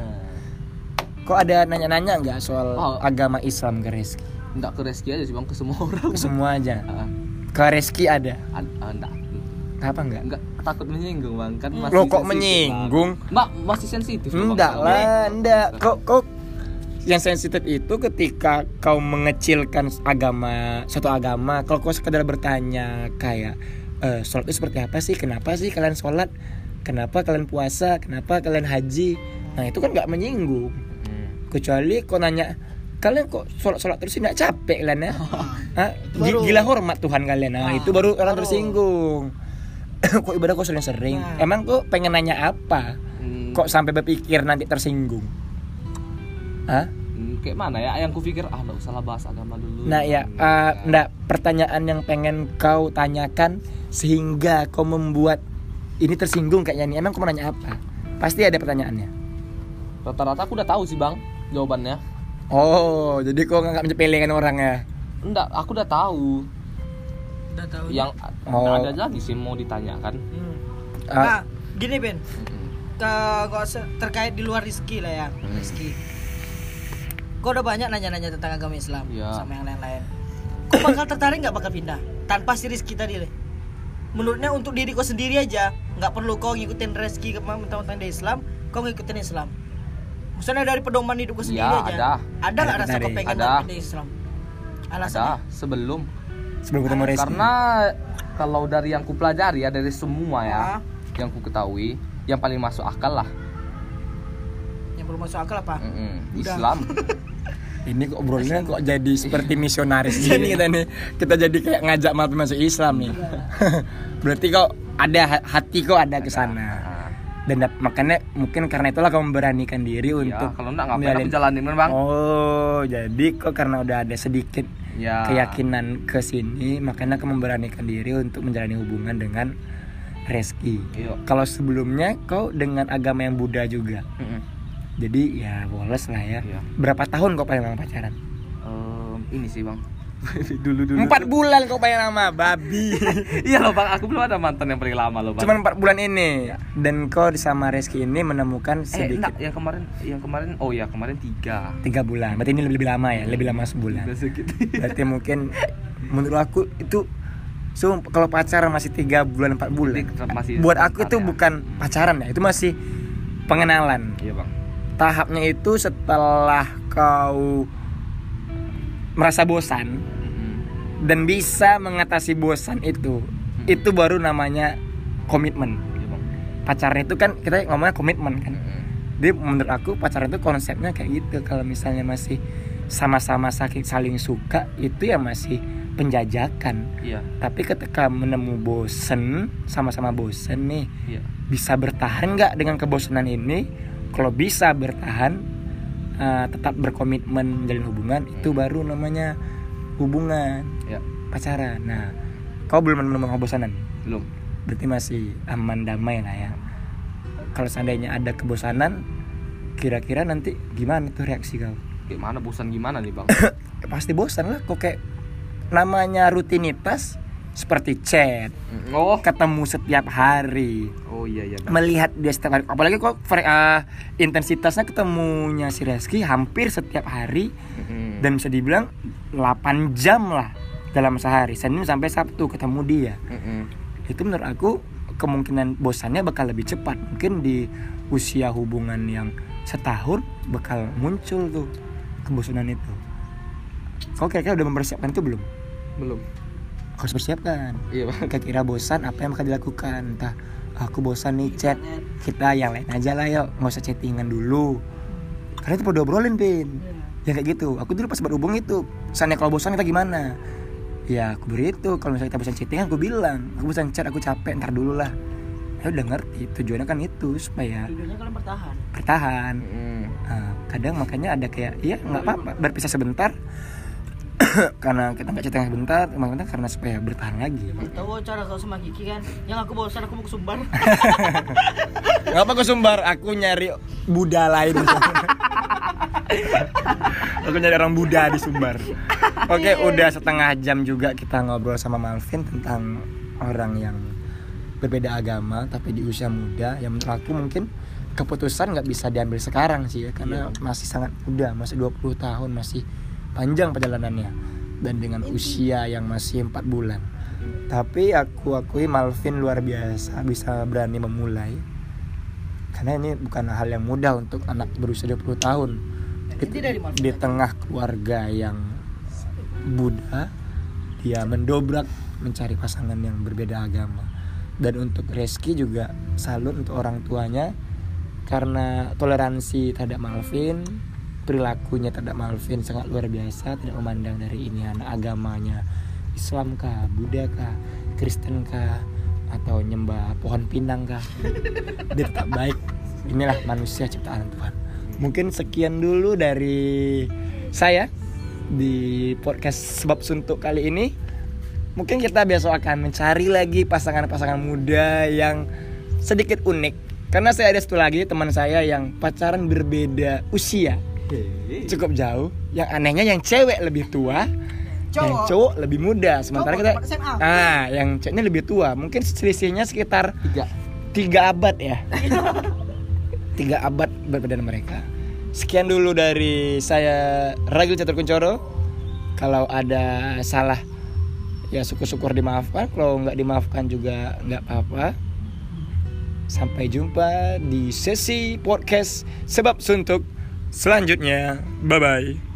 Speaker 1: Kok ada nanya-nanya nggak soal
Speaker 2: Oh.
Speaker 1: agama Islam ke Reski?
Speaker 2: nggak ke rezeki aja sih bang ke semua orang
Speaker 1: Semua aja.
Speaker 2: Ah,
Speaker 1: Ke Reski ada.
Speaker 2: ah, ah, nggak
Speaker 1: Apa nggak?
Speaker 2: nggak takut menyinggung bang kan masih
Speaker 1: Loh, kok
Speaker 2: sensitif, Bang.
Speaker 1: menyinggung?
Speaker 2: mbak masih sensitif loh, Bang.
Speaker 1: Enggak
Speaker 2: Kalau-
Speaker 1: lah, enggak. Kok kok yang sensitif itu ketika kau mengecilkan agama suatu agama kalau kau sekedar bertanya kayak eh sholat itu seperti apa sih kenapa sih kalian sholat kenapa kalian puasa kenapa kalian haji nah itu kan nggak menyinggung kecuali kau nanya kalian kok sholat sholat terus tidak capek kalian ya Hah? Gi-
Speaker 3: Baru-
Speaker 1: gila hormat Tuhan kalian nah
Speaker 3: Nah,
Speaker 1: itu baru orang
Speaker 3: baru.
Speaker 1: tersinggung kok ibadah kok sering-sering
Speaker 3: Nah.
Speaker 1: emang kok pengen nanya apa
Speaker 2: Hmm,
Speaker 1: kok sampai berpikir nanti tersinggung Hah?
Speaker 2: hmm, kayak mana ya yang kupikir ah nggak usah lah bahas agama dulu Hmm.
Speaker 1: nah ya eh, ndak pertanyaan yang pengen kau tanyakan sehingga kau membuat ini tersinggung kayaknya nih emang kau mau nanya apa pasti ada pertanyaannya
Speaker 2: rata-rata aku udah tahu sih bang jawabannya
Speaker 1: oh jadi kau nggak menyepelekan orang ya
Speaker 2: enggak aku udah tahu
Speaker 3: Udah tahu.
Speaker 2: yang
Speaker 1: Oh.
Speaker 2: nggak ada lagi sih mau ditanyakan
Speaker 3: Hmm.
Speaker 1: Ah.
Speaker 3: Nah, gini Ben. Ke- gak usah- terkait di luar Rizki lah ya,
Speaker 2: Hmm.
Speaker 3: Rizki. Kau udah banyak nanya-nanya tentang agama Islam
Speaker 2: Iya.
Speaker 3: sama yang lain-lain. Kau bakal tertarik nggak bakal pindah tanpa si Rizki tadi Le? Menurutnya untuk diri kau sendiri aja, nggak perlu kau ngikutin Rizki ke mentang-mentang dia Islam, kau ngikutin Islam. Maksudnya dari pedoman hidup kau sendiri
Speaker 2: Iya,
Speaker 3: aja.
Speaker 2: ada.
Speaker 3: Ada nggak
Speaker 1: Ada
Speaker 3: rasa kau
Speaker 1: tertarik.
Speaker 3: pengen
Speaker 2: Ada.
Speaker 3: pindah Islam?
Speaker 2: ada
Speaker 3: Alasannya?
Speaker 2: sebelum
Speaker 1: sebelum ketemu Reski
Speaker 2: karena kalau dari yang ku pelajari ya dari semua ya
Speaker 3: Ah.
Speaker 2: yang ku ketahui yang paling masuk akal lah
Speaker 3: Yang belum masuk akal
Speaker 2: Hmm.
Speaker 3: apa?
Speaker 2: Mm-mm.
Speaker 3: Udah.
Speaker 2: Islam
Speaker 1: ini kok obrolannya kok jadi seperti misionaris gini kita nih kita jadi kayak ngajak maaf masuk Islam
Speaker 2: Iya.
Speaker 1: nih berarti kok ada ha- hati kok ada ke sana
Speaker 2: Nah,
Speaker 1: dan dap- makanya mungkin karena itulah kamu memberanikan diri
Speaker 2: ya,
Speaker 1: untuk
Speaker 2: kalau enggak ngapain
Speaker 1: menjalin-
Speaker 2: aku jalanin kan bang
Speaker 1: oh jadi kok karena udah ada sedikit
Speaker 2: ya
Speaker 1: keyakinan ke sini makanya kamu memberanikan diri untuk menjalani hubungan dengan Reski
Speaker 2: Iya.
Speaker 1: kalau sebelumnya kau dengan agama yang Buddha juga
Speaker 2: Mm-mm.
Speaker 1: jadi ya boles lah ya
Speaker 2: Iya.
Speaker 1: berapa tahun kau paling lama pacaran
Speaker 2: Em, ini sih bang dulu dulu
Speaker 1: Empat bulan kau bayar lama babi.
Speaker 2: iya loh bang aku belum ada mantan yang paling lama loh bang
Speaker 1: Cuman empat bulan ini dan kau sama Reski ini menemukan
Speaker 2: Iya. eh enggak
Speaker 1: sedikit
Speaker 2: yang kemarin yang kemarin oh ya kemarin tiga
Speaker 1: tiga bulan. Berarti ini lebih lebih lama ya, lebih lama sebulan.
Speaker 2: Udah segitu
Speaker 1: Berarti mungkin menurut aku itu so, kalau pacaran masih tiga bulan empat bulan.
Speaker 2: Ini tetap masih
Speaker 1: Buat aku itu
Speaker 2: sebentar ya.
Speaker 1: bukan pacaran ya, itu masih pengenalan.
Speaker 2: iya bang
Speaker 1: Tahapnya itu setelah kau merasa bosan,
Speaker 2: Mm-mm.
Speaker 1: dan bisa mengatasi bosan itu
Speaker 2: Hmm.
Speaker 1: itu baru namanya komitmen
Speaker 2: iya bang
Speaker 1: pacarnya itu kan kita ngomongnya komitmen kan
Speaker 2: Mm-mm.
Speaker 1: jadi menurut aku pacaran itu konsepnya kayak gitu kalau misalnya masih sama-sama sakit saling suka itu ya masih penjajakan
Speaker 2: iya
Speaker 1: tapi ketika menemu bosen sama-sama bosen nih
Speaker 2: iya
Speaker 1: bisa bertahan nggak dengan kebosanan ini kalau bisa bertahan eh, tetap berkomitmen menjalin hubungan itu baru namanya hubungan
Speaker 2: iya
Speaker 1: pacaran. Nah, kau belum menemukan kebosanan.
Speaker 2: belum
Speaker 1: Berarti masih aman damai lah ya. Kalau seandainya ada kebosanan, kira-kira nanti gimana tuh reaksi kau?
Speaker 2: gimana bosan gimana nih bang
Speaker 1: Eh, Pasti bosan lah kok kayak namanya rutinitas seperti chat,
Speaker 2: oh
Speaker 1: ketemu setiap hari,
Speaker 2: oh iya iya bang
Speaker 1: melihat dia setiap hari. Apalagi kok fre- ah, intensitasnya ketemunya si Reski hampir setiap hari
Speaker 2: Mm-mm.
Speaker 1: dan bisa dibilang 8 jam lah dalam sehari Senin sampai Sabtu ketemu dia
Speaker 2: Mm-mm.
Speaker 1: itu menurut aku kemungkinan bosannya bakal lebih cepat mungkin di usia hubungan yang setahun bakal muncul tuh kebosanan itu kau kira-kira udah mempersiapkan itu belum
Speaker 2: belum
Speaker 1: harus persiapkan
Speaker 2: iya Bang.
Speaker 1: kira-kira bosan apa yang bakal dilakukan entah aku bosan nih chat kita yang lain aja lah yuk nggak usah chattingan dulu karena itu perlu obrolin pin ya
Speaker 3: Iya.
Speaker 1: kayak gitu aku dulu pas berhubung itu pesannya kalau bosan kita gimana ya aku beri itu kalau misalnya kita bosan chattingan aku bilang aku bosan chat aku capek ntar dulu lah ya udah ngerti tujuannya kan itu supaya
Speaker 3: Tujuannya kalian bertahan.
Speaker 1: bertahan
Speaker 2: Mm.
Speaker 1: Nah, kadang makanya ada kayak ya nggak apa-apa berpisah sebentar karena kita nggak chattingan sebentar makanya karena supaya bertahan lagi
Speaker 3: Tahu cara kau sama Kiki kan? Yang aku bosan aku mau ke Sumbar.
Speaker 1: Ngapa aku sumbar? Aku nyari Buddha lain. aku nyari orang Buddha di Sumbar. Oke, udah setengah jam juga kita ngobrol sama Malvin tentang orang yang berbeda agama tapi di usia muda. Yang menurut aku mungkin keputusan nggak bisa diambil sekarang sih ya karena masih sangat muda, masih 20 tahun, masih panjang perjalanannya dan dengan usia yang masih empat bulan. Tapi aku akui Malvin luar biasa bisa berani memulai karena ini bukan hal yang mudah untuk anak berusia 20 tahun di,
Speaker 3: Ini dari mana?
Speaker 1: di tengah keluarga yang Buddha dia mendobrak mencari pasangan yang berbeda agama dan untuk Reski juga salut untuk orang tuanya karena toleransi terhadap Malvin perilakunya terhadap Malvin sangat luar biasa tidak memandang dari ini anak agamanya Islam kah Buddha kah Kristen kah atau nyembah pohon pinang kah dia tetap baik inilah manusia ciptaan Tuhan mungkin sekian dulu dari saya di podcast sebab suntuk kali ini mungkin kita besok akan mencari lagi pasangan-pasangan muda yang sedikit unik karena saya ada satu lagi teman saya yang pacaran berbeda usia cukup jauh yang anehnya yang cewek lebih tua yang
Speaker 3: Cowok.
Speaker 1: cowok lebih muda Nah, sementara
Speaker 3: Cowok,
Speaker 1: kita
Speaker 3: teman SMA.
Speaker 1: ah yang ceweknya lebih tua mungkin selisihnya sekitar
Speaker 2: tiga
Speaker 1: tiga abad ya tiga abad berbeda dengan mereka sekian dulu dari saya Ragil Catur Kuncoro kalau ada salah ya syukur-syukur dimaafkan kalau nggak dimaafkan juga nggak apa-apa sampai jumpa di sesi podcast sebab suntuk selanjutnya bye bye